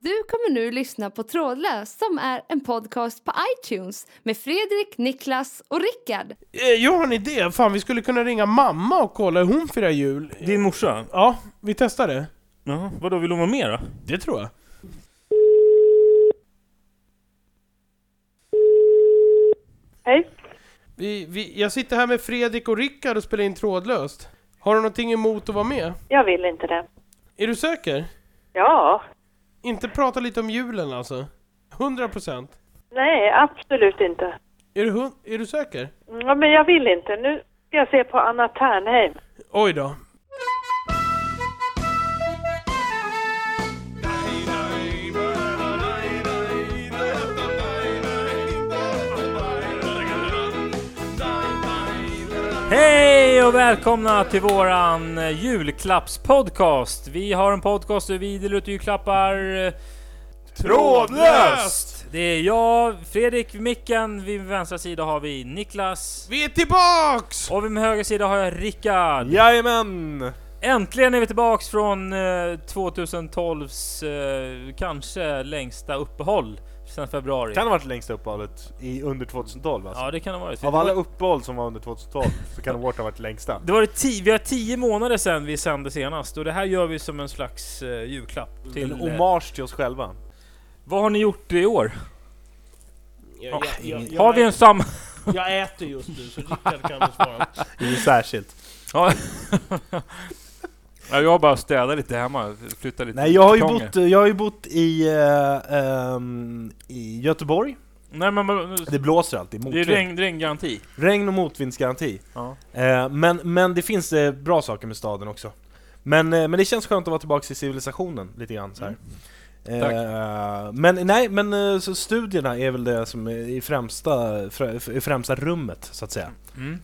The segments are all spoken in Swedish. Du kommer nu lyssna på Trådlös som är en podcast på iTunes med Fredrik, Niklas och Rickard. Eh, Jag har en idé. Fan, vi skulle kunna ringa mamma och kolla hur hon firar jul. Din morsa? Ja, vi testar det. Ja, vadå, vill hon vara med då? Det tror jag. Hej. Vi, vi, jag sitter här med Fredrik och Rickard och spelar in trådlöst. Har du någonting emot att vara med? Jag vill inte det. Är du säker? Ja. Inte prata lite om julen alltså? 100 procent? Nej, absolut inte. Är du, hun- är du säker? Ja, men jag vill inte. Nu ska jag se på Anna Ternheim. Oj då. Hej och välkomna till våran eh, julklappspodcast. Vi har en podcast där vi delar ut julklappar eh, Trådlöst! Det är jag, Fredrik vid micken, vid min vänstra sida har vi Niklas Vi är tillbaks! och vid min högra sida har jag Rickard. Jajamän! Äntligen är vi tillbaks från eh, 2012s eh, kanske längsta uppehåll sedan februari. Kan ha varit längsta uppehållet i under 2012 alltså. Ja, det kan det ha varit. Av alla uppehåll som var under 2012 så kan det vårt ha varit längsta. Det var det ti- vi har tio månader sedan vi sände senast och det här gör vi som en slags eh, julklapp till... Mm. En eh, hommage till oss själva. vad har ni gjort i år? Jag, jag, jag, har vi en sam... jag äter just nu, så Rickard kan väl svara. Inget särskilt. Ja. Ja, jag har bara städat lite hemma, flyttat lite Nej, jag har ju kartonger. bott, jag har ju bott i, eh, ehm, i Göteborg. Nej men, men Det blåser alltid, det är motvind. Regn. regn, regngaranti. och motvindsgaranti. Ja. Eh, men, men det finns eh, bra saker med staden också. Men, eh, men det känns skönt att vara tillbaka i civilisationen lite grann så här. Mm. Tack. Eh, men nej, men eh, så studierna är väl det som är i främsta, frä, i främsta rummet så att säga. Mm.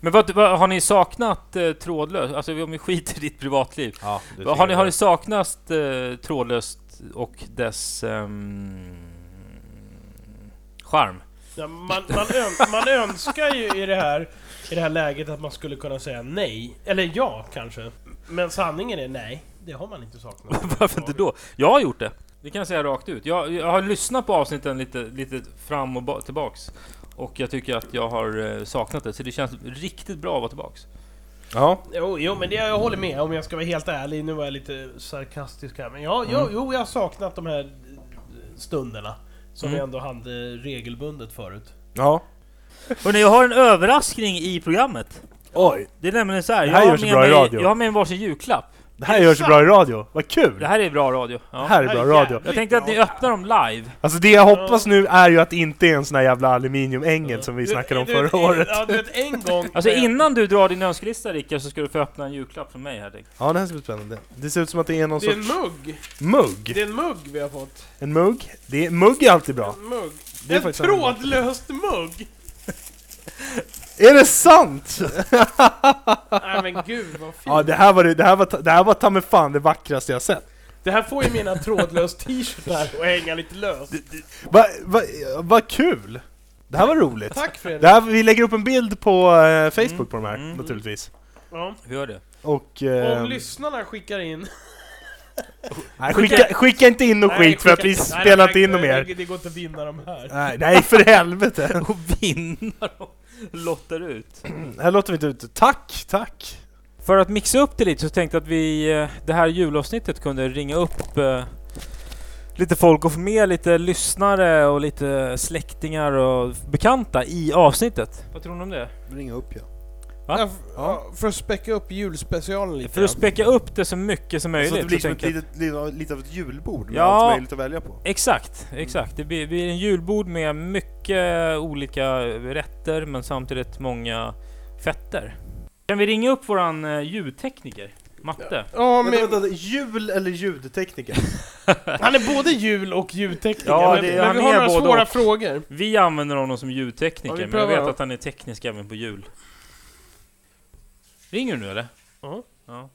Men vad, vad har ni saknat eh, trådlöst? Alltså om vi skiter i ditt privatliv. Ja, Vad har ni, har ni saknat eh, trådlöst och dess... ehm, charm? Ja, man, man, ön, man önskar ju i det, här, i det här läget att man skulle kunna säga nej. Eller ja, kanske. Men sanningen är nej. Det har man inte saknat. Varför inte då? Jag har gjort det. Det kan jag säga rakt ut. Jag, jag har lyssnat på avsnitten lite, lite fram och ba- tillbaks. Och jag tycker att jag har eh, saknat det, så det känns riktigt bra att vara tillbaks. Ja, Jo, jo men det, jag håller med om jag ska vara helt ärlig. Nu var jag lite sarkastisk här. Men ja, jo, jo, jag har saknat de här stunderna. Som Mm. vi ändå hade regelbundet förut. ja. Hörrni, jag har en överraskning i programmet. Oj, Det är nämligen så här, Det jag här har, görs med bra i mig, radio. jag har med mig varsin julklapp. det här görs bra i radio. Vad kul! Det här är bra radio. Det Ja. här är bra Det här är radio. Jag tänkte att ni öppnar dem live. Alltså det jag hoppas nu är ju att det inte är en sån här jävla aluminiumängel som vi snackade om Du vet, förra en- året. Ja, du vet, en gång... Alltså innan du drar din önskelista Rickard, så ska du få öppna en julklapp från mig här. Rick. Ja, det här ska bli spännande. Det ser ut som att det är någon Det är en sorts mugg! mugg. Det är en mugg vi har fått. En mugg. Det är, mugg är alltid bra. En mugg. Det är en faktiskt en mugg. trådlöst mugg! Är det sant? Nej men gud vad fint! Ja, det här var det, det här var, ta- det här var ta mig fan det vackraste jag sett. Det här får ju mina trådlös t-shirtar att hänga lite löst. Vad va, va kul! Det här var roligt. Tack Det Fredrik! här, vi lägger upp en bild på eh, Facebook på de här, mm. naturligtvis. Ja. Hur gör det? Och... Om Eh, lyssnarna skickar in... nej, skicka, skicka inte in och skit Nej, för att skicka- vi Nej, nej, spelar inte nej, in dem nej, mer. nej, Det går inte att vinna de här. Nej, nej, för helvete! Och vinna dem. Lottar ut. Här låter vi inte ut. Tack, tack! För att mixa upp det lite så tänkte jag att vi eh, det här julavsnittet kunde ringa upp eh, lite folk och få med lite lyssnare och lite släktingar och bekanta i avsnittet. Vad tror ni om det? Ringa upp ja. Va? Ja, f- ja, för att späcka upp julspecialen lite. För att späcka upp det så mycket som möjligt. Så att det blir så som ett tänker jag att- litet, lite, lite av ett julbord med Ja. allt möjligt att välja på. Exakt, exakt. Det blir, blir en julbord med mycket olika rätter men samtidigt många fetter. Kan vi ringa upp våran eh, ljudtekniker, Matte? Ja, Vänta, men, vänta, vänta, jul eller ljudtekniker? han är både jul och ljudtekniker. Ja, men- det- men han vi har är några både svåra och. frågor. Vi använder honom som Ja, ljudtekniker, vi men jag prövar vet då. att han är teknisk även på jul. Ringer du nu eller? Ja. Ja.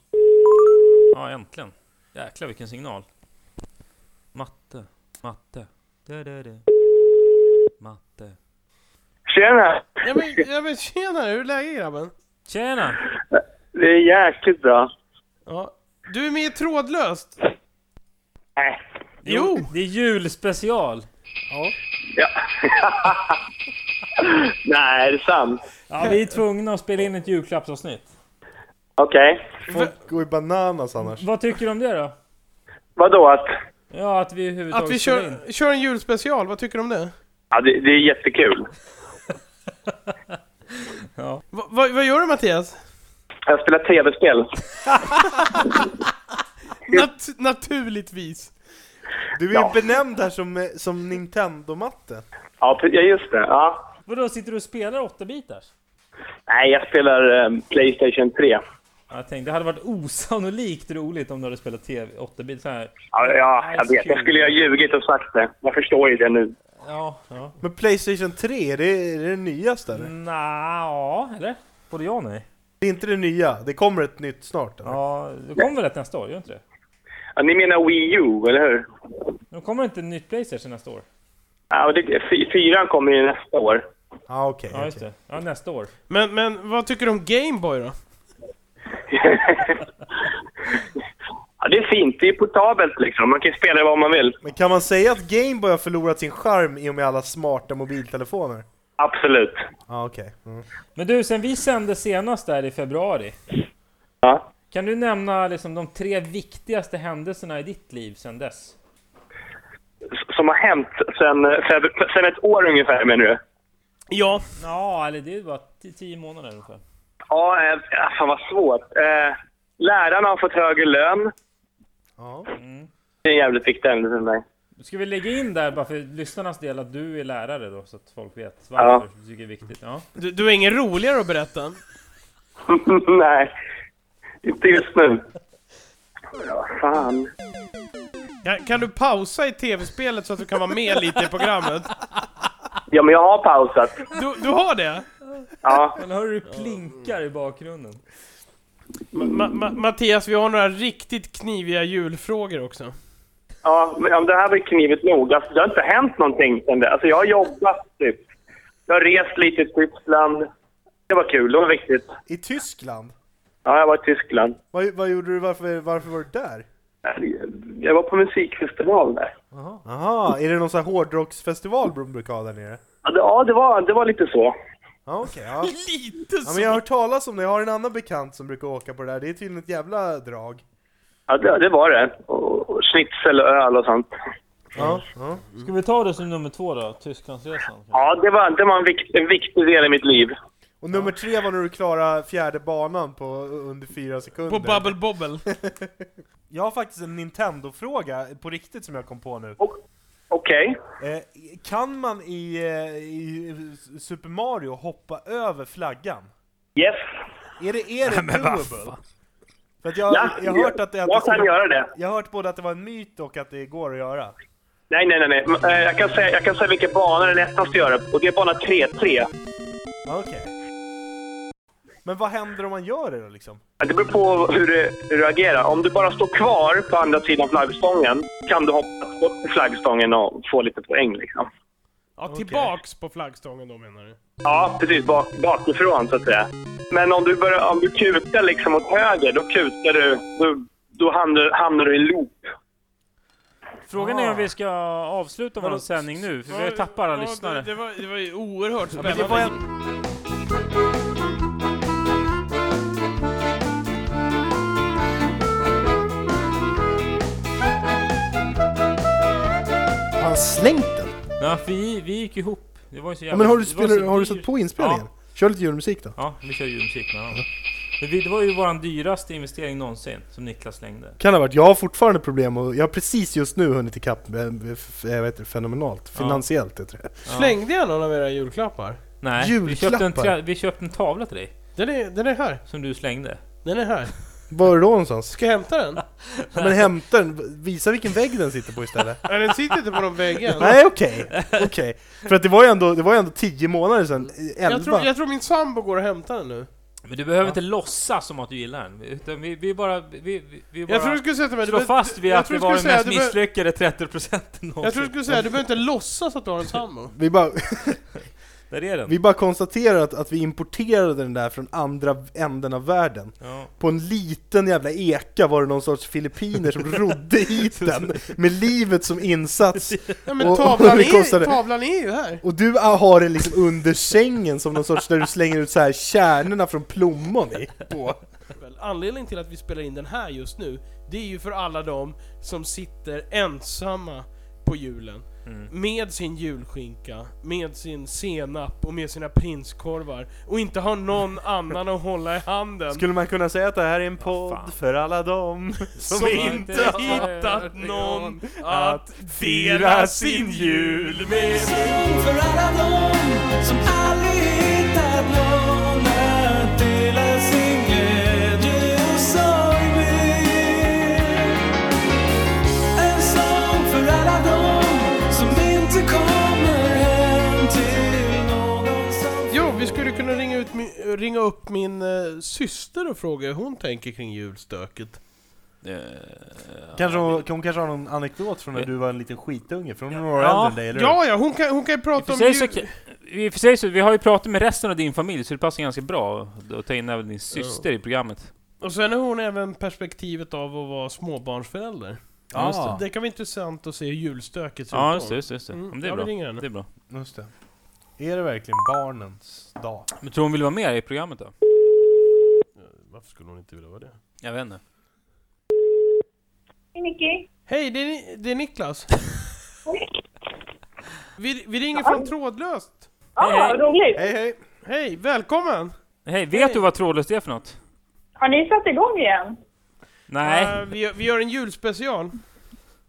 Ja, äntligen. Jäklar vilken signal. Matte, matte. Da, da, da. Matte. Tjena! Ja men, ja, men tjena, hur är läget grabben? Tjena! Det är jäkligt bra. Ja. Du är med i Trådlöst! Nej, Jo! Det är julspecial! Nej, är det sant? Ja, vi är tvungna att spela in ett julklappsavsnitt. Okej. Folk går ju bananas annars. Vad tycker du om det då? Vadå att? Ja, att vi överhuvudtaget Att vi spelar in. kör, kör en julspecial, vad tycker du om det? Ja, det, det är jättekul. Va, va, vad gör du Mattias? Jag spelar tv-spel. Nat naturligtvis. Du är ju Ja. benämnd här som, eh, som Nintendo-matte. Ja, pre- ja, just det. Ja. Vadå, sitter du och spelar 8-bitars? Nej, jag spelar eh, Playstation 3. Ja, Jag tänkte, det hade varit osannolikt roligt om du hade spelat TV 8-bitars. Så här. Ja, ja jag Ice vet. Jag Cube. skulle ju ha ljugit och sagt det. Jag förstår ju det nu. Ja, ja. Men Playstation 3, är det, är det den nyaste eller? Mm. Nja, ja, eller? Både ja och nej. Det är inte det nya, det kommer ett nytt snart eller? Ja, det kommer väl ett nästa år, gör inte det? Ja, ni menar Wii U, eller hur? Nu kommer inte ett nytt Playstation nästa år. Ja, och det, fy- fyran kommer ju nästa år. Ah, okej. Ja, okej. just det. Ja, nästa år. Men, men vad tycker du om Gameboy då? Ja, det är fint. Det är portabelt liksom. Man kan ju spela det vad man vill. Men kan man säga att Gameboy har förlorat sin charm i och med alla smarta mobiltelefoner? Absolut. Ja, okej. Mm. Men du, sen vi sände senast där i februari. Ja. Kan du nämna liksom de tre viktigaste händelserna i ditt liv sen dess? S- Som har hänt sen, eh, feb- sen ett år ungefär, menar du? Ja. Ja, eller det är bara t- tio månader ungefär. Ja, eh, ah, fan vad svårt. Eh, lärarna har fått högre lön. Ja. Det är en jävligt viktig ämne för mig. Ska vi lägga in där bara för lyssnarnas del att du är lärare då så att folk vet varför du tycker det är viktigt? Ja. Du, du är ingen roligare att berätta? Nej, inte just nu. Ja, fan. Kan, kan du pausa i tv-spelet så att du kan vara med lite i programmet? Ja, men jag har pausat. Du, du har det? Ja, Men hör du plinkar i bakgrunden? Ma Ma Mattias, vi har några riktigt kniviga julfrågor också. ja men om det här var knivigt nog. Alltså, det har inte hänt någonting sen det. Alltså, jag har jobbat typ. Jag har rest lite i Tyskland. Det var kul, det var viktigt. I Tyskland? Ja, jag var i Tyskland. Vad, vad gjorde du, varför, varför var du där? Jag var på musikfestival där. Aha, är det någon sån här hårdrocksfestival de brukar ha där nere? Ja, det, ja, det, var, det var lite så. Ja, okej. ja. Lite ja, så! men jag har hört talas om det. Jag har en annan bekant som brukar åka på det där. Det är tydligen ett jävla drag. Ja, det, det var det. Och, och schnitzel och öl och sånt. Ja, ja. Ska vi ta det som nummer två då? Tysklandsresan? Ja, det var, det var en, vikt, en viktig del i mitt liv. Och nummer tre var när du klarade fjärde banan på under fyra sekunder. På Bubble Bobble. Jag har faktiskt en Nintendo-fråga på riktigt som jag kom på nu. Okej. Eh, kan man i, eh, i Super Mario hoppa över flaggan? Yes. Är det, är det doable? För att jag, Ja, jag har hört att det... Att jag det kan skulle- göra det. jag har hört både att det var en myt och att det går att göra. Nej, nej, nej. nej. Men, eh, Jag, kan säga, jag kan säga vilka banor det är lättast att göra. Och det är bana 3-3. Okej. Men vad händer om man gör det då liksom? Ja, Det beror på hur du, hur du agerar. Om du bara står kvar på andra sidan flaggstången kan du hoppa upp till flaggstången och få lite poäng. Liksom. Ja, tillbaks på flaggstången då menar du? Ja, precis. Bak, bakifrån, så att säga. Men om du, börjar, om du kutar liksom åt höger, då kutar du... Då, då hamnar, hamnar du i loop. Frågan är om vi ska avsluta vår sändning nu, för vi har ju tappat alla Ah. Ja, lyssnare. Det, det, var, det var ju oerhört spännande. Men det var en... Har han slängt den? Ja, för vi, vi gick ihop. Det var ju så jävla... Ja, men har du, det var spelat, så har du dyr- satt på inspelningen? Kör lite julmusik då. Ja, ja vi kör ju musik med varandra. Men vi, Det var ju våran dyraste investering någonsin, som Niklas slängde. Kan det ha varit. Jag har fortfarande problem och jag har precis just nu hunnit ikapp, eh, f- eh, vad heter det, fenomenalt. Finansiellt heter det. Slängde jag någon av era julklappar? Nej, vi köpte, en, Julklappar. tra- vi köpte en tavla till dig, Den är, den är här. som du slängde. Den är här. Var är det då någonstans? Ska jag hämta den? Men hämta den, visa vilken vägg den sitter på istället. Nej, den sitter inte på någon väggen. Nej okej, okej. För att det var ju ändå, det var ju ändå tio månader sedan, eh, elva. Jag tror, jag tror min sambo går och hämtar den nu. Men du behöver inte låtsas som att du gillar den, utan vi, vi bara... Vi, vi, vi bara... Jag tror du skulle säga till mig... du Slå behöver- fast vid jag att tror det du var den skulle mest säga, du behöver- misslyckade 30% någonsin. Jag tror du skulle säga, du behöver inte låtsas att du har en sambo. Vi bara... Där är den. Vi bara konstaterar att, att vi importerade den där från andra änden av världen. Ja. På en liten jävla eka var det någon sorts filippiner som rodde hit den med livet som insats. Ja, men Och- tavlan, och det är, kostade- tavlan är ju här. Och du ah, har den liksom under sängen som någon sorts där du slänger ut så här kärnorna från plommon i. På. Väl, Anledningen till att vi spelar in den här just nu, det är ju för alla de som sitter ensamma på julen. Med sin julskinka, med sin senap och med sina prinskorvar. Och inte har någon annan att hålla i handen. Skulle man kunna säga att det här är en podd fan. för alla dem som, som inte... inte hittat någon att dela sin jul med. För alla dem som aldrig hittat någon att dela sin glädje och sorg med. En sång för alla dem som inte kommer hem till någon som Jo, vi skulle kunna ringa, ut, mi- ringa upp min eh, syster och fråga hur hon tänker kring julstöket. Eh, Kanske hon, hon kanske har någon anekdot från när du var en liten skitunge, från några Ja. äldre än dig, eller hur? Ja, ja, hon kan, hon kan ju I och för prata om sig så, jul. i och för sig så, vi har ju pratat med resten av din familj, så det passar ganska bra att- att ta in även din syster i programmet. Och sen har hon även perspektivet av att vara småbarnsförälder. Ja, just det. Det kan vara intressant att se hur julstöket ser Ja, ut just det, då. just det. Just det. Mm, Men det ja, är vi bra. ringer henne. Det är bra. Just det. Är det verkligen barnens dag? Men tror hon vill vara med i programmet då? Varför skulle hon inte vilja vara det? Jag vet inte. Hej Nicky. Hej, det är, Ni- det är Niklas. Vi, vi ringer från Trådlöst. Ja, Hej, hej. vad roligt. Hej hej! Hej, välkommen! Hej, vet du vad trådlöst är för något? Har ni satt igång igen? Nej. Eh, vi, vi gör en julspecial.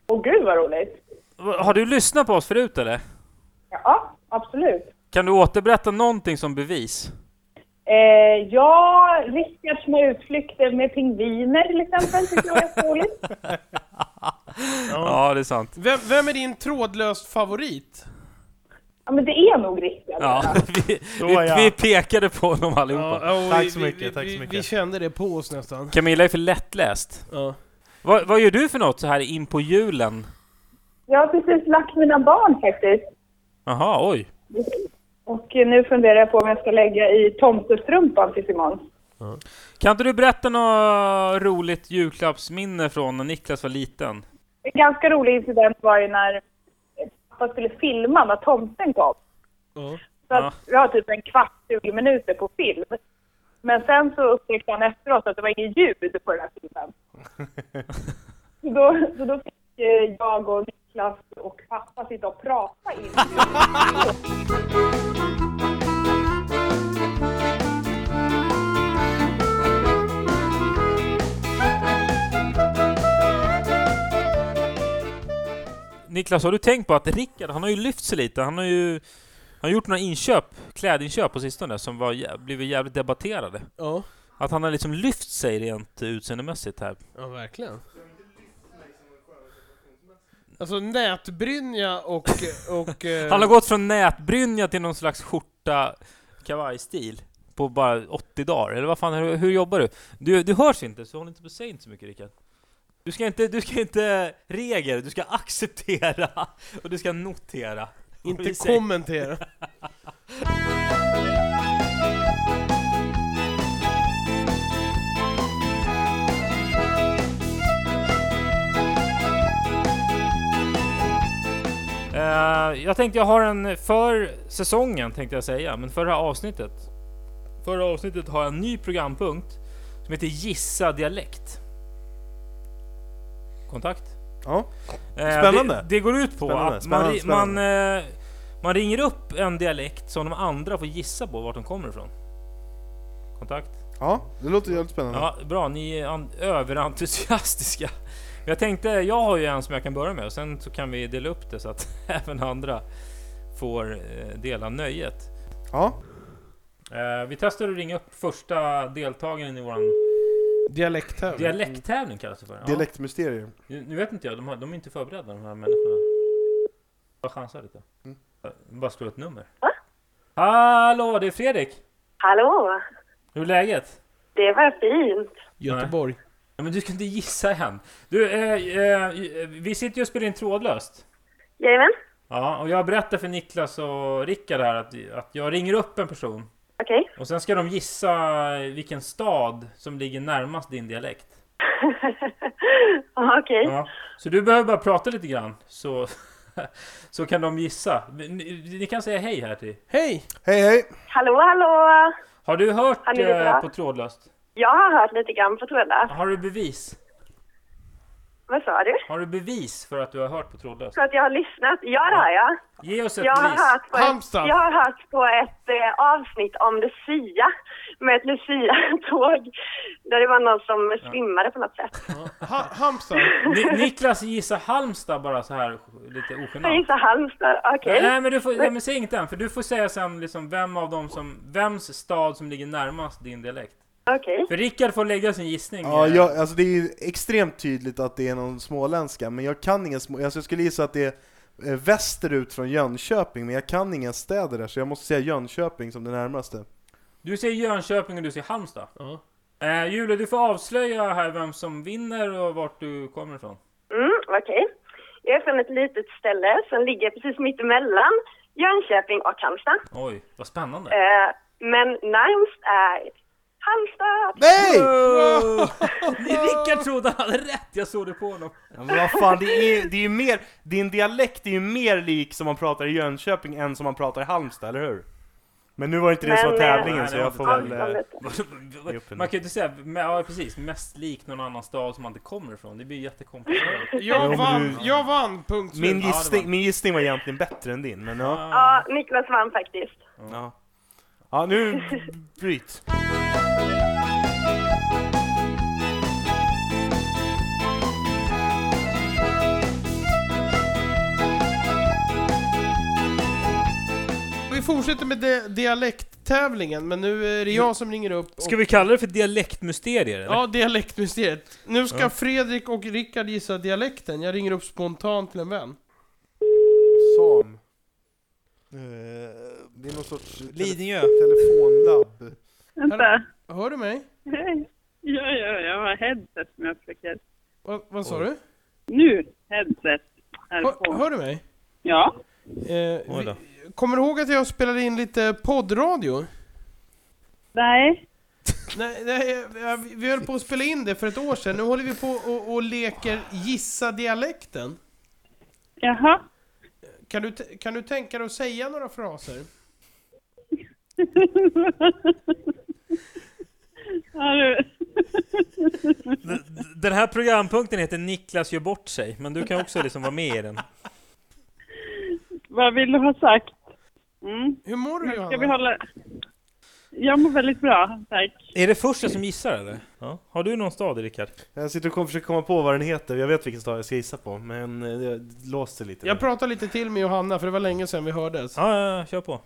Åh gud vad roligt. Har du lyssnat på oss förut eller? Ja, absolut. Kan du återberätta någonting som bevis? Eh, ja, Rickards med utflykter med pingviner till exempel tycker jag är roligt. Ja, det är sant. Vem, vem är din trådlöst favorit? Ja, men det är nog Rickard. Ja, vi, vi, ja. vi pekade på honom allihopa. Ja, och Tack vi- så vi- mycket, vi- tack så vi- mycket. Vi kände det på oss nästan. Camilla är för lättläst. Ja. Vad, vad gör du för något så här in på julen? Jag har precis lagt mina barn faktiskt. Jaha, oj. Och eh, nu funderar jag på om jag ska lägga i tomtestrumpan till imorgon. Kan inte du berätta något roligt julklappsminne från när Niklas var liten? En ganska rolig incident var ju när pappa skulle filma när tomten kom. Ja. Så att vi har typ en kvart, 20 minuter på film. Men sen så upptäckte han efteråt att det var inget ljud på den här filmen. Så då, så då fick eh, jag och Niklas och pappa sitta och prata in. Niklas, har du tänkt på att Rickard, han har ju lyft sig lite. Han har ju han har gjort några inköp, klädinköp på sistone som var, jä- blivit jävligt debatterade. Ja. Att han har liksom lyft sig rent utseendemässigt här. Ja, verkligen. Alltså nätbrynja och... och eh, Han har gått från nätbrynja till någon slags skjorta kavajstil på bara 80 dagar. Eller vad fan, hur, hur jobbar du? du? Du hörs inte, så håll inte på att säga inte så mycket Rickard. Du ska inte, du ska inte reagera, du ska acceptera och du ska notera. inte Vi säger- kommentera. Eh, jag tänkte jag har en för säsongen tänkte jag säga, men för det här avsnittet. Förra avsnittet har jag en ny programpunkt som heter Gissa dialekt. Kontakt? Ja. Eh, Spännande. Det, det går ut på Spännande, att man, spännande, ri- spännande. Man, eh, man ringer upp en dialekt som de andra får gissa på vart de kommer ifrån. Kontakt? Ja, det låter jävligt spännande. Ja, bra. Ni är an- överentusiastiska. Jag tänkte, jag har ju en som jag kan börja med och sen så kan vi dela upp det så att även andra får eh, dela nöjet. Ja. Eh, Vi testar att ringa upp första deltagaren i våran Dialekttävling. dialekttävling kallas det för. Ja. Dialektmysterier. Nu nu vet inte jag, de, har, de är inte förberedda de här människorna. Jag chansar lite. Jag bara slå ett nummer. Hallå, det är Fredrik! Hallå, Hur är läget? det var fint. Göteborg. Ja, men du ska inte gissa än. Du, eh, eh, vi sitter ju och spelar in trådlöst. Jajamän. Ja, och jag berättar för Niklas och Rickard här att, att jag ringer upp en person Okej. och sen ska de gissa vilken stad som ligger närmast din dialekt. Ja, Okej. Ja. Så du behöver bara prata lite grann så, så kan de gissa. Ni, ni kan säga hej här till. Hej! Hej hej! Hallå, hallå! Har du hört Han är lite eh, bra. på trådlöst? Jag har hört lite grann på trådlöst. Har du bevis? Vad sa du? Har du bevis för att du har hört på trådlöst? För att jag har lyssnat. Ja, det har jag. Ge oss ett Jag har bevis. hört på ett, Halmstad. jag har hört på ett eh, avsnitt om Lucia med ett Lucia-tåg där det var någon som svimmade på något sätt. Ha Hamstad. Ni, Niklas gissar Halmstad bara så här lite Jag ogenant. gissar Halmstad. Okej. Eh. Nej men, du får, nej men säg inte än, för du får säga sen liksom vem av dem som, vems stad som ligger närmast din dialekt. Okej. För Rickard får lägga sin gissning. Ja, eh, jag, alltså det är ju extremt tydligt att det är någon småländska, men jag kan ingen små... Alltså jag skulle gissa att det är eh, västerut från Jönköping, men jag kan inga städer där, så jag måste säga Jönköping som det närmaste. Du säger Jönköping och du säger Halmstad. Ja. Eh, Julia, du får avslöja här vem som vinner och vart du kommer ifrån. Mm, okej. Jag är från ett litet ställe som ligger precis mitt emellan Jönköping och Halmstad. Oj, vad spännande. Eh, men närmst är Halmstad. Nej! Wow! Rickard trodde han hade rätt, jag såg det på honom. Ja, men vad fan, det är, det är ju mer, din dialekt är ju mer lik som man pratar i Jönköping än som man pratar i Halmstad, eller hur? Men nu var inte det som var Men, eh, tävlingen nej, så det var jag inte får väl... tävlingen. eh, Halmstad. uppe nu. Man kan ju inte säga, men, ja precis, mest lik någon annan stad som man inte kommer ifrån. Det blir ju jättekomplicerat. Jag men vann, du- jag vann, punkt Min slut. gissning, min gissning var egentligen bättre än din, men ja. Ja, Niklas vann faktiskt. Ja, ja nu bryt. Vi fortsätter med di- dialekttävlingen, men nu är det jag som ringer upp. Och, Ska vi kalla det för dialektmysterier eller? ja, dialektmysteriet. Nu ska Fredrik och Rickard gissa dialekten. Jag ringer upp spontant till en vän. Sam. Eh, Det är någon sorts... Lidingö. Telefonlabb. Vänta. Hör du mig? Ja, ja, jag har headset som jag försöker... Va, vad sa du? Nu! Headset är Hör, på. hör du mig? Ja. Oj Eh, vi, då. kommer du ihåg att jag spelade in lite poddradio? Nej. Nej, nej, eh, vi- vi höll på att spela in det för ett år sedan. Nu håller vi på och, och leker gissa dialekten. Jaha. Kan du, t- kan du tänka dig att säga några fraser? Ja, du. Den här programpunkten heter Niklas gör bort sig, men du kan också liksom vara med i den. Vad vill du ha sagt? Mm. Hur mår du Ska vi Johanna? hålla... Jag mår väldigt bra, tack. Är det första som gissar eller? Ja. Har du någon stad Rickard? Jag sitter och kom- försöker komma på vad den heter, jag vet vilken stad jag ska gissa på, men eh, jag låste lite. Jag pratar lite till med Johanna, för det var länge sedan vi hördes. Ja, ja, ja, kör på.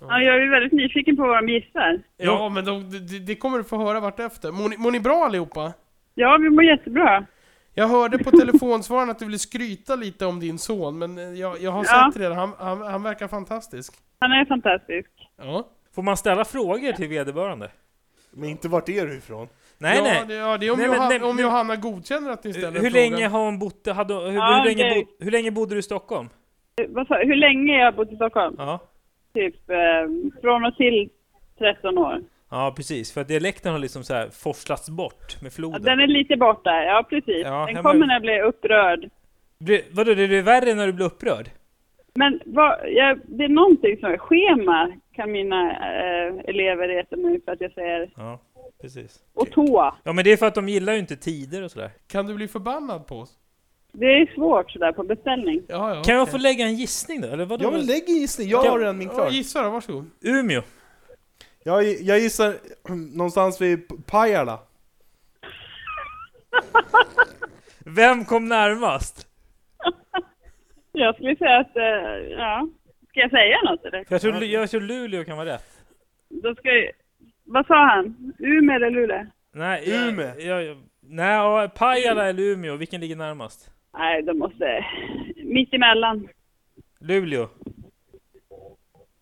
Ja, jag är väldigt nyfiken på vad de gissar. Ja, men de, det- det kommer du få höra vartefter. Mår ni, mår ni bra allihopa? Ja, vi mår jättebra. Jag hörde på telefonsvararen att du ville skryta lite om din son, men eh, jag, jag har Ja. sett redan. Han, han, han verkar fantastisk. Han är fantastisk. Ja. Får man ställa frågor till vederbörande? Men inte vart är du ifrån? Nej, ja, nej. Det, ja, det är om, Nej, men- Johan, nej, om nej. Johanna godkänner att ni ställer Hur frågan. länge har hon bott, hade, hur, Ja, hur, länge okej. bod, hur länge bodde du i Stockholm? Eh, Vad sa, hur länge har jag bott i Stockholm? Ja. Typ eh, från och till 13 år. Ja, precis. För att dialekten har liksom så här forslats bort med Ja, floden. Den är lite borta, ja precis. Ja, den jag kommer men- när jag blir upprörd. Blir- vadå, är det värre när du blir upprörd? Men vad, jag, det är någonting som är schema kan mina eh, elever reta mig för att jag säger Ja, precis. och tå. Ja, men det är för att de gillar ju inte tider och sådär. Kan du bli förbannad på oss? Det är svårt sådär på beställning. Ja, ja. Kan jag få lägga en gissning då? Eller vadå? Ja men lägg en gissning, jag har redan min ja, klar. gissa då, varsågod. Umeå? Jag, jag gissar någonstans vid P- Pajala. Vem kom närmast? Jag skulle säga att, eh, ja. Ska jag säga något eller? För jag tror, jag tror Luleå kan vara rätt. Då ska jag, vad sa han? Umeå eller Luleå? Nej, jag, Umeå. Jag, jag, nej, ja, Pajala eller Umeå, vilken ligger närmast? Nej, de måste, mitt emellan. Luleå.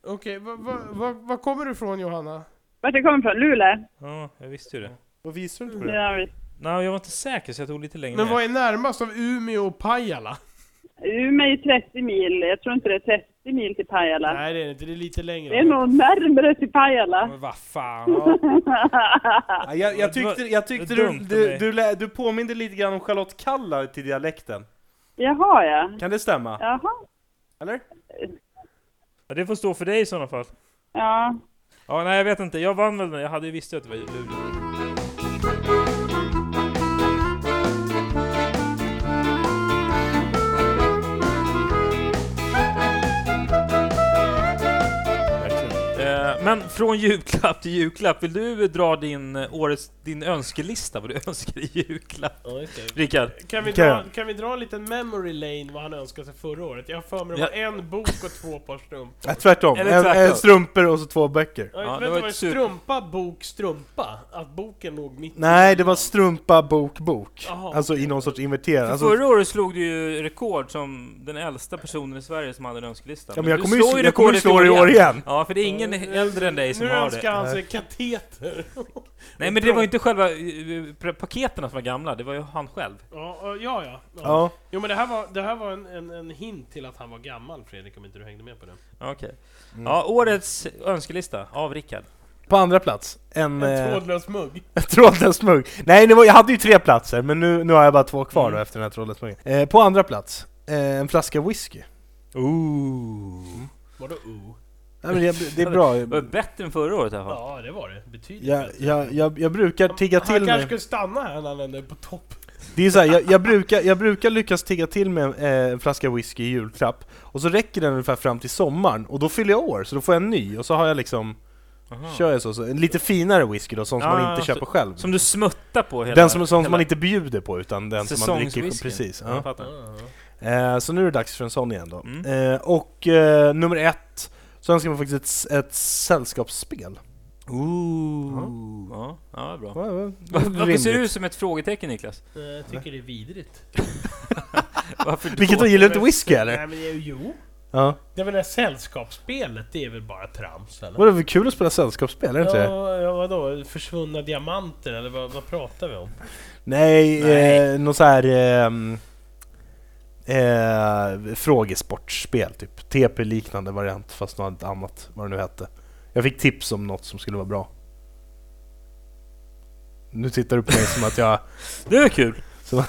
Okej, va- va- va- var kommer du ifrån Johanna? Vart jag kommer ifrån? Luleå? Ja, jag visste ju det. Vad visar du inte på det? Ja, visst. Nej, jag var inte säker så jag tog lite längre Men ner. vad är närmast av Umeå och Pajala? Umeå är ju 30 mil, jag tror inte det är 30 mil till Pajala. Nej det är det inte, det är lite längre. Det är nog närmare till Pajala. Men vad fan. Ja, jag, jag tyckte, jag tyckte Det var du, dumt av du, mig. du, lä- du påminde lite grann om Charlotte Kalla till dialekten. Jaha ja. Kan det stämma? Jaha. Eller? Ja, det får stå för dig i sådana fall. Ja. Ja, nej jag vet inte. Jag vann väl men jag hade ju visst att det var Luleå. Eh, Men från julklapp till julklapp, vill du dra din, eh, årets, din önskelista? Vad du önskar i julklapp? Rickard? Kan vi, dra, kan vi dra en liten memory lane vad han önskade sig förra året? Jag har för mig det var en bok och två par strumpor. Nej, tvärtom. Eller En, tvärtom. en strumpor och så två böcker. Ja, vänta, var det strumpa, bok, strumpa? Att boken låg mitt Nej, det var strumpa, bok, bok. Jaha. Alltså i någon sorts inverterad. För Alltså, Förra året slog du ju rekord som den äldsta personen i Sverige som hade en önkelista. Ja, men Men jag du kommer ju slår sl- jag kommer ju rekordet slå det i år igen. Ja, för det är ingen äldre än dig som nu har det. önskar han sig kateter. Nej, men det var ju inte själva eh, eh, paketen som var gamla, det var ju han själv. Ja, ja, ja, ja. Ja. Jo men det här var, det här var en, en, en hint till att han var gammal Fredrik, om inte du hängde med på det. Okej. Mm. Ja, årets önskelista av Rickard. På andra plats, en... En eh, trådlös mugg. En trådlös mugg. Nej, det var, jag hade ju tre platser, men nu, nu har jag bara två kvar då efter den här trådlösa muggen. Eh, på andra plats, eh, en flaska whisky. Ooh. Vadå oh? Nej, men jag, det är bra. Det var bättre än förra året i alla fall. Ja, det var det. Betydligt Jag, jag, jag, jag brukar tigga Han till kanske mig. skulle stanna här när han ändå är på topp. Det är så här, jag, jag, brukar, jag brukar lyckas tigga till med en eh, flaska whisky i julklapp, och så räcker den ungefär fram till sommaren, och då fyller jag år, så då får jag en ny, och så har jag liksom... Aha. Kör jag så, så, en lite finare whisky då, sån som Ja, man inte så- köper själv. Som du smuttar på hela... den som, sån hela- som man inte bjuder på, utan den som man dricker. Säsongswhisky. Precis. Jag Ja. fattar. Eh, så nu är det dags för en sån igen då. Mm. Eh, och eh, nummer ett, så önskar man faktiskt ett, ett sällskapsspel. Ooh. Ja, ja bra. Ja, ja, Varför rimligt. ser du ut som ett frågetecken Niklas? Jag tycker det är vidrigt. Varför då? Vilket då, gillar du inte whisky, eller? Nej men det är ju- jo. Ja. Det menar sällskapsspelet, det är väl bara trams eller? Var det väl kul att spela sällskapsspel, är det inte det? Ja, ja, vadå? Försvunna diamanter eller vad, vad pratar vi om? Nej, Eh, någon så här... ehm, eh, frågesportspel typ. TP-liknande variant fast något annat, vad det nu hette. Jag fick tips om något som skulle vara bra. Nu tittar du på mig som att jag... Det är kul!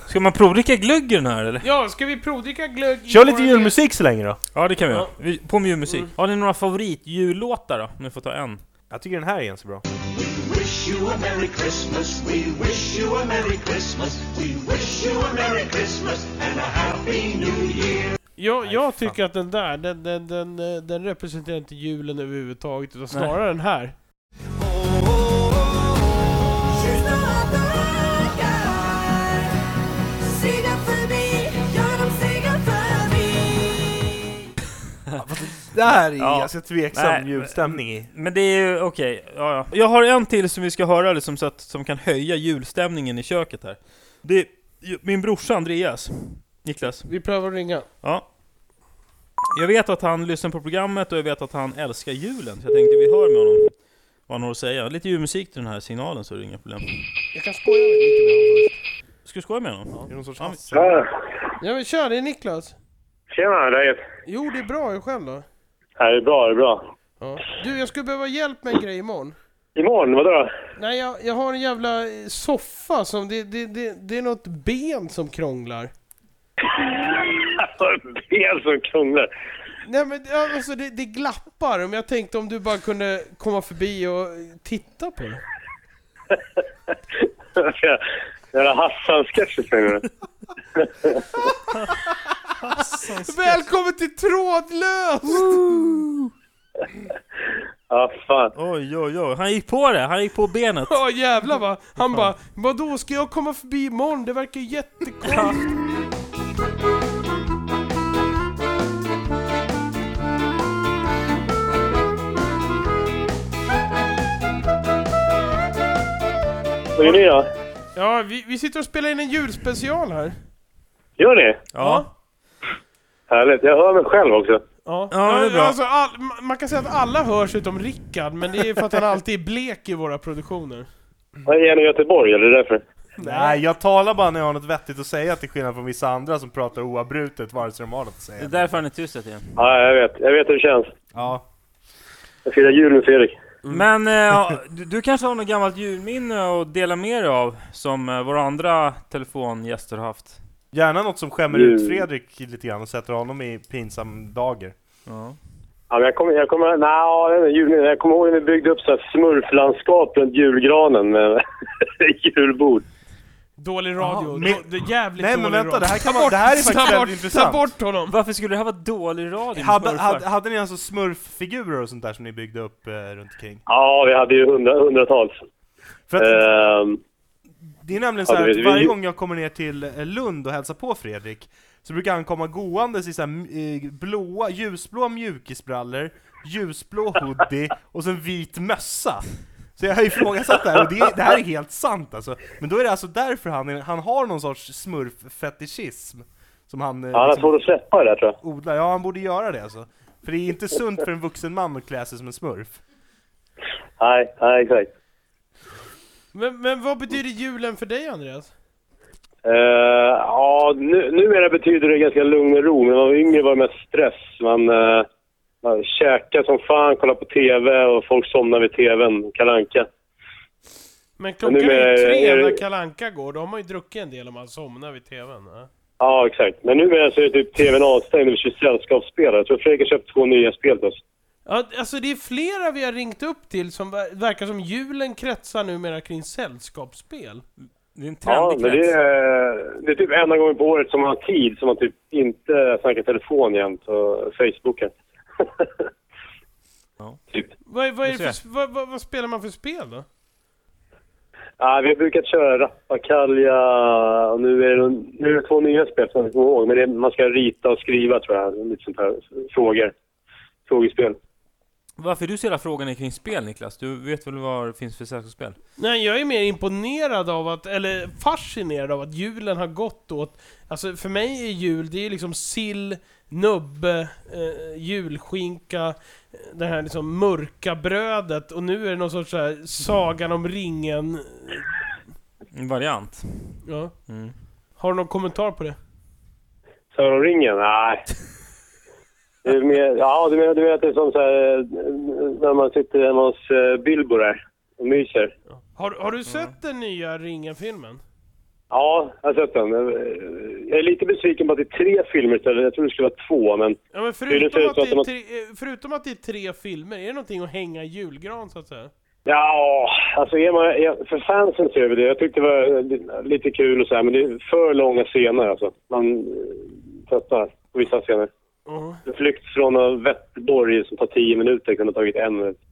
Ska man provdricka glöggen här eller? Ja, ska vi provdricka glögg i Kör lite våran- julmusik så länge då! Ja det kan vi Ja. göra. Vi- På med julmusik. Har ni några favoritjullåtar då? Om ni får ta en. Jag tycker den här är ganska bra. wish you a Merry Christmas. We wish you a Merry Christmas. We wish you a Merry Christmas and a Happy New Year. Ja, jag tycker att den där, den, den, den, eh, den representerar inte julen överhuvudtaget utan Nej. snarare den här. She's no other guy. Sing up for me, Göran, sing up for me. Det här är Ja. ganska tveksam Nej, men- julstämning i. Men det är ju okej, ja, ja. Jag har en till som vi ska höra liksom, så att, som kan höja julstämningen i köket här. Det är ju min brorsa Andreas. Niklas. Vi prövar att ringa. Ja. Jag vet att han lyssnar på programmet och jag vet att han älskar julen, så jag tänkte vi hör med honom vad han har att säga. Lite julmusik till den här signalen så är det inga problem. Jag kan skoja lite med honom först. Ska du skoja med honom? Ja. Är det någon sorts Ja, Ja men kör, det är Niklas. tjena, läget? Jo, det är bra. Hur själv då? Ja, det är bra, det är bra. Ja. Du, jag skulle behöva hjälp med en grej imorgon. Imorgon, vadå då? Nej, jag, jag har en jävla eh, soffa som... Det, det, det, det är något ben som krånglar. Ben som krånglar. Nej men ja, alltså det, det glappar, men jag tänkte om du bara kunde komma förbi och eh, titta på det. Jävla Hassan-sketchen menar du? Välkommen till Trådlöst! Ja, fan. Oj, oj, oj. Han gick på det. Han gick på benet. Ja jävlar va! Han bara Vadå, ska jag komma förbi imorgon? Det verkar ju jättekonstigt. Vad gör ni då? Ja, vi, vi sitter och spelar in en julspecial här. Gör ni? Ja. Härligt. Jag hör mig själv också. Ja, Ja, det är bra. Alltså, all, ma- man kan säga att alla hörs utom Rickard, men det är för att han alltid är blek i våra produktioner. Vad Är ni i Göteborg, eller därför? Nej, jag talar bara när jag har något vettigt att säga till skillnad från vissa andra som pratar oavbrutet vare sig de har något att säga. Det är därför han är tyst igen. Ja, jag vet. Jag vet hur det känns. Ja. Jag firar jul med Fredrik. Mm. Men eh, du, du kanske har något gammalt julminne att dela med dig av som eh, våra andra telefongäster har haft? Gärna något som skämmer Mm. ut Fredrik lite grann och sätter honom i pinsam dager. Ja, men jag kommer, jag kommer, na, jag vet inte, jul, jag kommer ihåg när vi byggde upp så här smurflandskap runt julgranen med julbord. Dålig radio. Jaha, Då- det är jävligt Nej, men dålig vänta, radio. det här kan Ta man- det här är bort- faktiskt ta väldigt bort- intressant. Ta bort honom! Varför skulle det här vara dålig radio? Hade, hade, hade ni alltså smurffigurer och sånt där som ni byggde upp eh, runt omkring? Ja, vi hade ju hundra, hundratals. För att- Ehm, Det är nämligen så Ja, här det att vet vi. varje gång jag kommer ner till eh, Lund och hälsar på Fredrik så brukar han komma gåendes i så här, m- eh, blåa, ljusblå mjukisbrallor, ljusblå hoodie och sen vit mössa. Så jag har ifrågasatt det här och det, är- det här är helt sant alltså. Men då är det alltså därför han, är, han har någon sorts smurffetischism. Som han, eh, ja, han har liksom svårt att släppa det där tror jag. odlar. Ja, han borde göra det alltså. För det är inte sunt för en vuxen man att klä sig som en smurf. Nej, nej exakt. Men, men vad betyder julen för dig Andreas? Eh, ja, nu, numera betyder det ganska lugn och ro, men när man var yngre var det mest stress. Man, uh, man käkade som fan, kollade på TV och folk somnade vid TVn, Kalle Anka. Men Men klockan nu är med- ju tre är det- när Kalle Anka går, då har man ju druckit en del om man somnar vid TVn. Ja. Ja, exakt. Men numera så är typ TVn avstängd och vi kör sällskapsspel. Jag tror Fredrik har köpt två nya spel till oss. Ja, alltså det är flera vi har ringt upp till som ver- verkar som julen kretsar numera kring sällskapsspel. Det är en Ja, men det är, det är typ enda gången på året som man har tid, som man typ inte snackar telefon jämt och Facebookar. Typ. Vad, är- vad, är Vi det för, vad, vad, vad spelar man för spel då? Ja, vi har brukat köra rappakalja och nu är, det, nu är det två nya spel som jag inte kommer ihåg. Men det är, man ska rita och skriva tror jag. Lite sånt här. Frågor. Frågespel. Varför är du så jävla frågan kring spel Niklas? Du vet väl vad det finns för sällskapsspel? Nej, jag är mer imponerad av att, eller fascinerad av att julen har gått åt... Alltså för mig är jul, det är liksom sill, nubbe, eh, julskinka, det här liksom mörka brödet och nu är det någon sorts så här Sagan om ringen... En variant. Ja. Mm. Har du någon kommentar på det? Sören om ringen? Nej. Det är mer, ja, du menar, du menar att det är som så här, eh, när man sitter hemma hos eh, Bilbo där och myser? Har, har du sett den nya ringen-filmen? Ja, jag har sett den. Eh, Jag är lite besviken på att det är tre filmer istället. Jag trodde det skulle vara två, men... Ja, men tydligen ser förutom, att som det är man- tre, eh, förutom att det är tre filmer, är det någonting att hänga i julgran så att säga? Ja, alltså är man, är, för fansen ser vi det. Jag tyckte det var eh, lite kul och så här, men det är för långa scener alltså. Man eh, tröttnar på vissa scener. Ja. En flykt från en Vättborg som tar tio minuter kunde ha tagit en minut.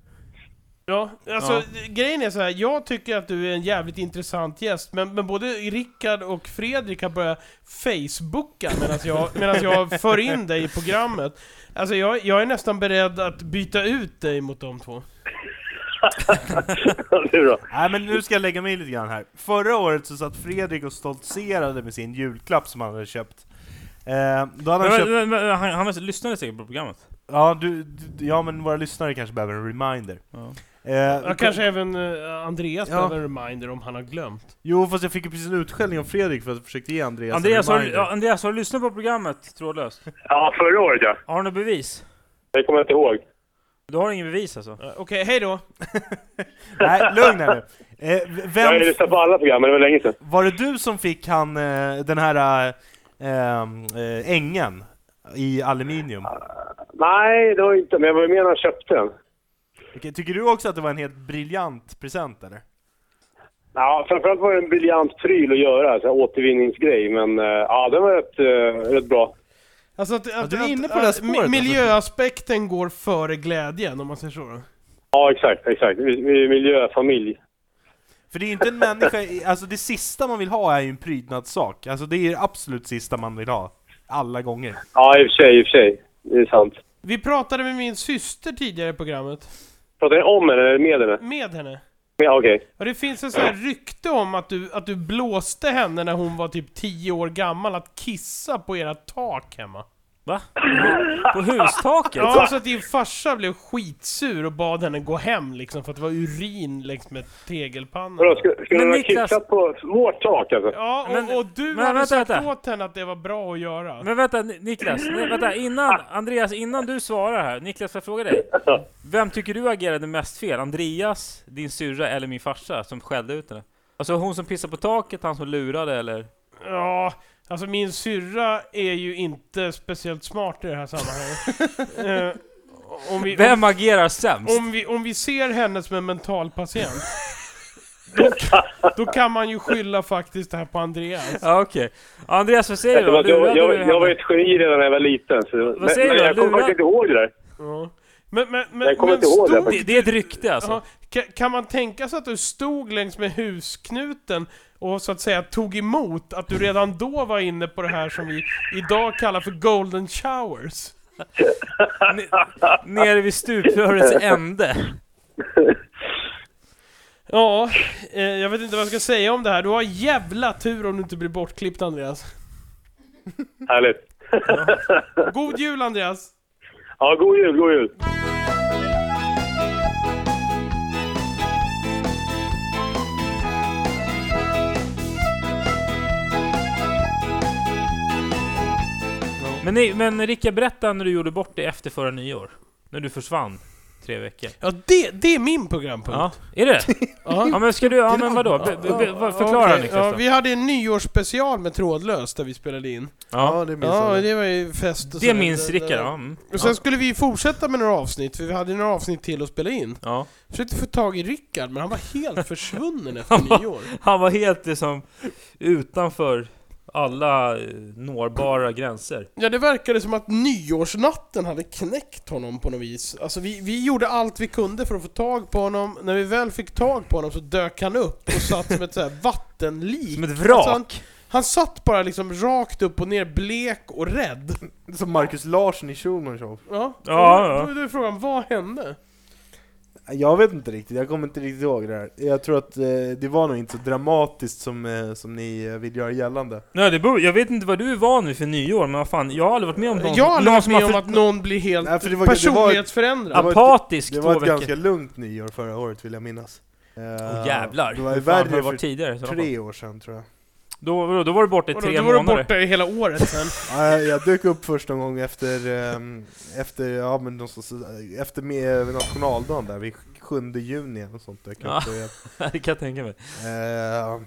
Ja, alltså Ja. grejen är så här. jag tycker att du är en jävligt intressant gäst, men, men både Rickard och Fredrik har börjat Facebooka medan jag, medan jag för in dig i programmet. Alltså jag, jag är nästan beredd att byta ut dig mot de två. du då? Nej men nu ska jag lägga mig i lite grann här. Förra året så satt Fredrik och stoltserade med sin julklapp som han hade köpt. Eh, då hade Men, han köpt... men, men, han, han lyssnade säkert på programmet. Ja, du, du, ja men våra lyssnare kanske behöver en reminder. Eh, Ja, kanske även eh, Andreas Ja. behöver en reminder om han har glömt. Jo fast jag fick ju precis en utskällning av Fredrik för att jag försökte ge Andreas, Andreas, en har, reminder. du- ja, Andreas, har du lyssnat på programmet trådlöst? Ja, förra året ja. Har du något bevis? Det kommer jag inte ihåg. Du har ingen bevis alltså? Okej, okay, hej då! Nej, lugn här nu. Eh, v- Jag har vem, ju lyssnat på alla program, men det var länge sedan. var det du som fick han, eh, den här eh, ehm, eh, ängen i aluminium? Nej, det var inte, men jag var ju med när han köpte den. Okej, Tycker du också att det var en helt briljant present eller? Ja, framförallt var det en briljant pryl att göra, så här återvinningsgrej, men eh, ja, den var rätt, eh, rätt bra. Alltså att, att, du är inne på att, det här att spåret, mi- alltså. Miljöaspekten går före glädjen, om man säger så. då. Ja, exakt, exakt. Vi, vi är miljöfamilj. För det är ju inte en människa, i- alltså det sista man vill ha är ju en prydnadssak. Alltså det är ju det absolut sista man vill ha. Alla gånger. Ja, i och för sig, i och för sig. Det är sant. Vi pratade med min syster tidigare i programmet, Pratar ni om henne eller med henne? med henne. Ja, okej. Ja, det finns en sån här rykte om att du, att du blåste henne när hon var typ 10 år gammal att kissa på era tak hemma. Va? På hustaket? Ja, så att din farsa blev skitsur och bad henne gå hem liksom för att det var urin längs med tegelpannan. Vadå, ska, ska de ha kissat på vårt tak alltså? Ja, och, och du men hade vänta, sagt vänta. åt henne att det var bra att göra. Men vänta Ni- Niklas, nej, vänta, innan, Andreas innan du svarar här, Niklas får jag fråga dig? Vem tycker du agerade mest fel? Andreas, din syrra eller min farsa som skällde ut henne? Alltså hon som pissade på taket, han som lurade eller? Ja, alltså min syrra är ju inte speciellt smart i det här sammanhanget. Eh, om vi- Vem agerar sämst? Om vi, om vi ser henne som en mental patient, då, då kan man ju skylla faktiskt det här på Andreas. Ja okej. Andreas vad säger du? Eftersom att jag, Lurade jag, du jag, jag var henne? ju ett geni redan när jag var liten. Så, men, säger men du? jag kommer Lura- faktiskt inte ihåg det där. Ja. Men, men, men, Jag kommer men inte ihåg det stod- faktiskt. Det är ett rykte alltså. Ja, kan, kan man tänka sig att du stod längs med husknuten och så att säga tog emot att du redan då var inne på det här som vi idag kallar för golden showers? Nere vid stuprörets ände. Ja, eh, jag vet inte vad jag ska säga om det här. Du har jävla tur om du inte blir bortklippt Andreas. Härligt. God jul Andreas! Ja, god jul, god jul. Men, nej, men Rickard, berätta när du gjorde bort det efter förra nyår. När du försvann. Tre veckor. Ja, det, det är min programpunkt. Ja, är det? Ja. ja men ska du, ja men vadå? Be, be, be, vad- förklara Okej, Niklas ja, då. Vi hade en nyårsspecial med trådlöst där vi spelade in. Ja, det minns Ja, jag. det var ju fest och Det sådär. minns Det- Rickard, det- ja. Mm. Och sen Ja. skulle vi fortsätta med några avsnitt, för vi hade ju några avsnitt till att spela in. Ja. Försökte få tag i Rickard, men han var helt försvunnen efter nyår. Han var helt liksom utanför alla eh, nåbara gränser. Ja, det verkade som att nyårsnatten hade knäckt honom på något vis. Alltså vi, vi gjorde allt vi kunde för att få tag på honom. När vi väl fick tag på honom så dök han upp och satt som ett så här vattenlik. Alltså, Som ett vrak. han, han satt bara liksom rakt upp och ner, blek och rädd. Som Marcus Larsson i Schulman Show. Ja, Ja, och ja. Då, då är frågan, vad hände? Jag vet inte riktigt, jag kommer inte riktigt ihåg det här. Jag tror att eh, det var nog inte så dramatiskt som, eh, som ni eh, vill göra gällande. Nej, det beror, jag vet inte vad du är van vid för nyår, men vad fan, jag har aldrig varit med om någon, Jag har aldrig varit som med har om för- att någon blir helt Nej, för det var- det var- personlighetsförändrad. det var ett- Apatisk Det var två ett veckor. ganska lugnt nyår förra året vill jag minnas. Åh Åh, jävlar. Det var ju Hur fan har värre det för varit tidigare i så tre år sedan tror jag. Då, då, då var du borta i Vadå, tre då var du månader. borta i hela året sen. Ja, jag- jag dök upp första gången efter, ehm, efter, ja, men någonstans, eh, efter med nationaldagen där, vid 7 juni eller något sånt. Dök jag Ja, upp. igen. det kan jag tänka mig. Eh,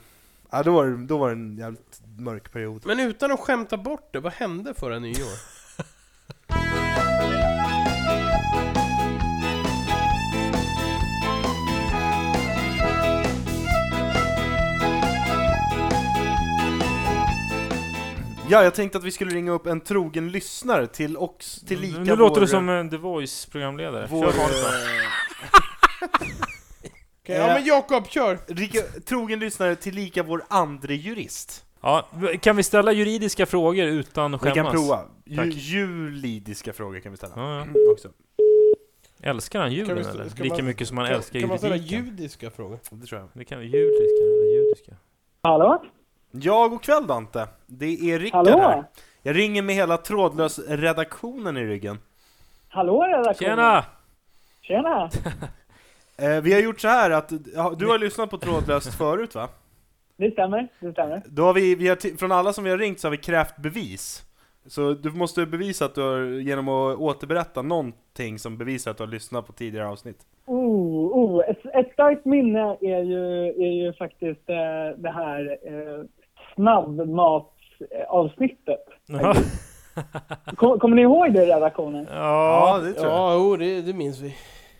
ja, då, var, det- då var det en jävligt mörk period. Men utan att skämta bort det, vad hände förra nyår? Ja, jag tänkte att vi skulle ringa upp en trogen lyssnare till ox, till lika Nu låter vår, eh, du som en The Voice-programledare. vår, Kör vanligt då. Okej, ja men Jakob, kör! Eh, Rika, trogen lyssnare till lika vår andre jurist. Ja, v- kan vi ställa juridiska frågor utan att Vi skämmas? kan prova. Tack. Ju, juridiska frågor kan vi ställa. Mm, Ja, ja. Också. Älskar han julen Kan vi- eller? ska Lika man- mycket som han Kan, älskar kan man ställa juridiken? judiska frågor? Det tror jag. Det kan vi, judiska eller judiska? Hallå? Ja, god kväll Dante. Det är Rickard Hallå? här. Jag ringer med hela trådlös-redaktionen i ryggen. Hallå redaktionen! Tjena! Tjena! Eh, vi har gjort så här att, ja, du har lyssnat på trådlöst förut va? Det stämmer, det stämmer. Då har vi, vi har ti- från alla som vi har ringt så har vi krävt bevis. Så du måste bevisa att du har, genom att återberätta någonting som bevisar att du har lyssnat på tidigare avsnitt. Oh, oh. Ett, ett starkt minne är ju, är ju faktiskt eh, det här eh, snabbmatsavsnittet. Kom, kommer ni ihåg det redaktionen? Ja, det tror jag. Ja, jo, det, det minns vi.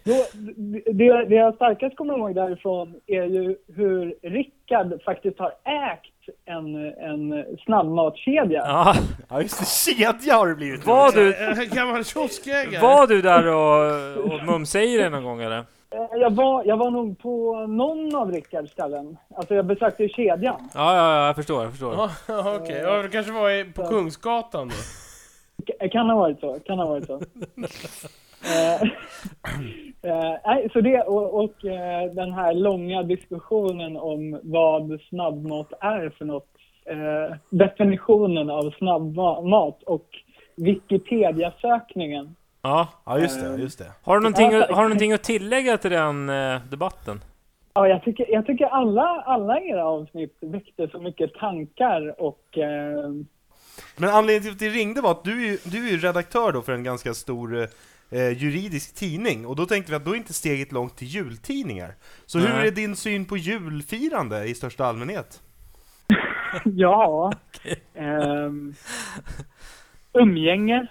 Då, det- det, det jag starkast kommer ihåg därifrån är ju hur Rickard faktiskt har ägt en, en snabbmatskedja. Ja. Ja just det, kedja har det blivit! Var du, En Gammal kioskägare! var du där och, och mumsade någon gång eller? Eh, Jag var, jag var nog på någon av Rickards ställen. Alltså jag besökte ju kedjan. Ja, ja, ja, jag förstår, jag förstår. Ja, okej. Ja, det kanske var i- på Kungsgatan då? K- Kan ha varit så. Kan ha varit så. Eh, eh, nej, så det och, och eh, den här långa diskussionen om vad snabbmat är för något. Eh, definitionen av snabbmat och Wikipedia-sökningen. Ja. Ja, just det, just det. Har du någonting, att- har du någonting att tillägga till den eh, debatten? Ja, jag tycker, jag tycker alla, alla era avsnitt väckte så mycket tankar och... Eh, Men anledningen till att vi ringde var att du är ju, du är ju redaktör då för en ganska stor eh, juridisk tidning och då tänkte vi att då är inte steget långt till jultidningar. Så hur Nej. är din syn på julfirande i största allmänhet? ja... ehm, umgänge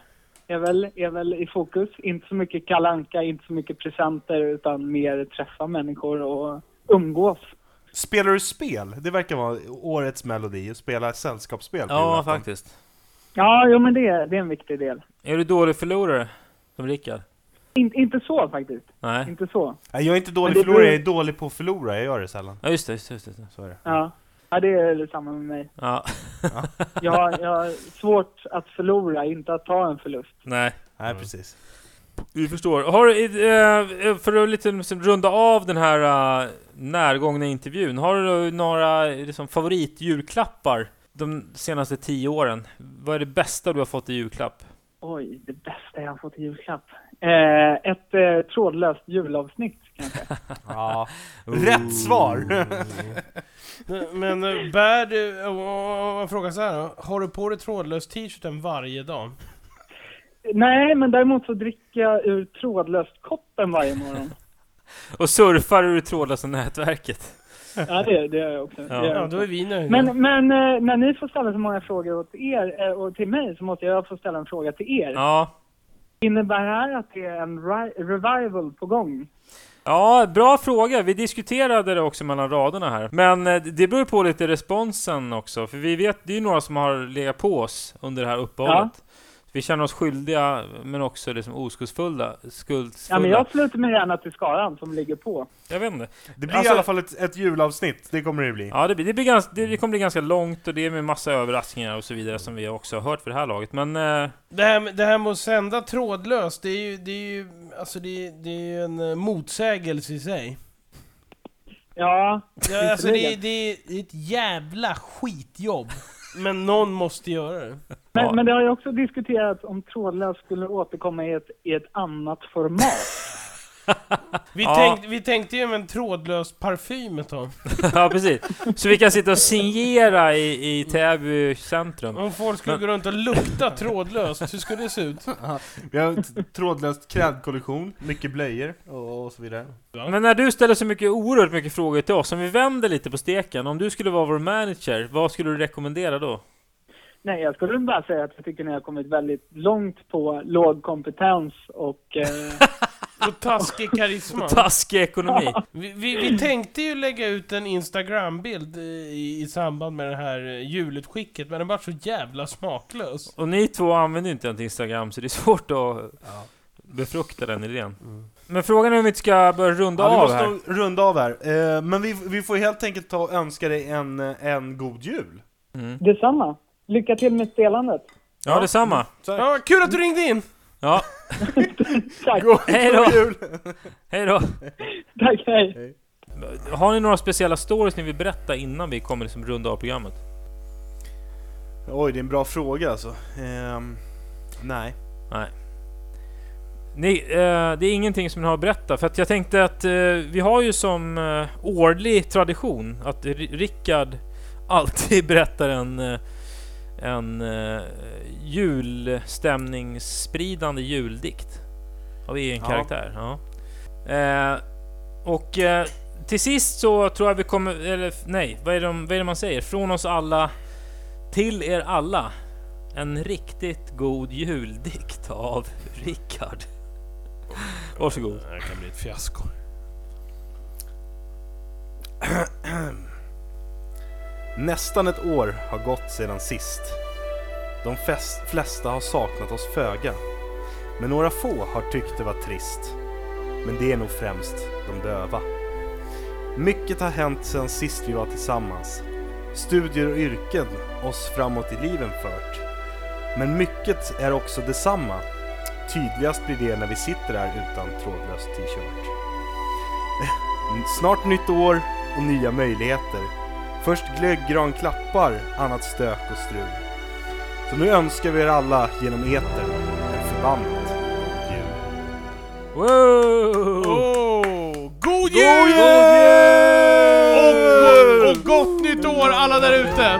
är väl, är väl i fokus. Inte så mycket kalanka, inte så mycket presenter utan mer träffa människor och umgås. Spelar du spel? Det verkar vara årets melodi, att spela sällskapsspel. på Ja, julafton. faktiskt. Ja, jo, men det, är- det är en viktig del. Är du dålig förlorare? Som Rickard? In, inte så faktiskt. Nej. Inte så. Nej, jag är inte dålig Men det förlorare, beror- jag är dålig på att förlora, jag gör det sällan. Ja, just det, just det. Just det. Så är det. Ja. ja, det är samma med mig. Ja. Jag, jag har svårt att förlora, inte att ta en förlust. Nej. Nej, precis. Vi förstår. Har, du, eh, för att lite runda av den här eh, närgångna intervjun. Har du några liksom, favoritjulklappar de senaste tio åren? Vad är det bästa du har fått i julklapp? Oj, det bästa jag har fått i julklapp. Eh, ett eh, trådlöst julavsnitt kanske. Ja. Rätt svar! Men eh, bär du, om- om jag frågar så här då, har du på dig trådlös t-shirten varje dag? Nej, men däremot så dricker jag ur trådlöst koppen varje morgon. Och surfar ur det trådlösa nätverket? Ja, det, det gör jag också. Det Ja. gör jag Ja, också. då är vi nöjda. Men, men eh, när ni får ställa så många frågor åt er eh, och till mig så måste jag få ställa en fråga till er. Ja. Innebär det här att det är en ri- revival på gång? Ja, bra fråga. Vi diskuterade det också mellan raderna här. Men eh, det beror på lite responsen också, för vi vet, det är ju några som har legat på oss under det här uppehållet. Vi känner oss skyldiga, men också liksom oskuldsfulla. Skuldsfulla. Ja, men jag sluter mig gärna till skaran som ligger på. Jag vet inte. Det blir i alla fall ett, ett julavsnitt, det kommer det bli. Alltså- Ja, det, blir, det, blir ganska, det, det kommer bli ganska långt och det är med massa överraskningar och så vidare som vi också har hört för det här laget. Men eh, Det här, med- det här med att sända trådlöst, det är ju, det är ju, alltså det är, det är ju en eh, motsägelse i sig. Ja, Ja, alltså det, är- det är ett jävla skitjobb. Men någon måste göra det. Men, men det har ju också diskuterats om trådlöst skulle återkomma i ett, i ett annat format. Vi, Ja. tänkte, vi tänkte ju med en trådlös parfym ett tag. ja, precis. Så vi kan sitta och signera i, i Täby centrum. Om folk skulle gå runt och lukta trådlöst, hur skulle det se ut? Vi har ett trådlöst klädkollektion, mycket blöjor och, och så vidare. Men när du ställer så mycket oerhört mycket frågor till oss, om vi vänder lite på steken, om du skulle vara vår manager, vad skulle du rekommendera då? Nej, jag skulle bara säga att jag tycker ni har kommit väldigt långt på låg kompetens och... Eh, Och taskig karisma. Och taskig ekonomi. Vi, vi, vi tänkte ju lägga ut en Instagram-bild eh, i, i samband med det här eh, julutskicket, men den var så jävla smaklös. Och ni två använder ju inte ens Instagram, så det är svårt att befrukta den idén. Men frågan är om vi inte ska börja runda Mm. Ja, av vi måste här. nog runda av här. Eh, Men vi, vi får helt enkelt ta och önska dig en, en god jul. detsamma. Lycka till med spelandet. Ja, detsamma. Ja, kul att du ringde in! Ja, Tack. hej då! Hej då! Tack, hej. Har ni några speciella stories ni vill berätta innan vi kommer liksom runda av programmet? Oj, det är en bra fråga alltså. Ehm, nej. Nej. Ni, eh, det är ingenting som ni har att berätta, för att jag tänkte att eh, vi har ju som eh, årlig tradition att R- Rickard alltid berättar en, eh, en eh, julstämningsspridande juldikt av egen Ja. karaktär. Ja. Eh, och eh, till sist så tror jag vi kommer, eller f- nej, vad är, det, vad är det man säger? Från oss alla till er alla. En riktigt god juldikt av Rickard. Varsågod. Det här kan bli ett fiasko. Nästan ett år har gått sedan sist. De fest, flesta har saknat oss föga. Men några få har tyckt det var trist. Men det är nog främst de döva. Mycket har hänt sedan sist vi var tillsammans. Studier och yrken oss framåt i liven fört. Men mycket är också detsamma. Tydligast blir det när vi sitter här utan trådlös t-shirt. Eh, Snart nytt år och nya möjligheter. Först glögggran klappar, annat stök och strul. Så nu önskar vi er alla genom etern en förbannat god jul. Wow! God jul! God jul! Och, och gott nytt år alla där ute!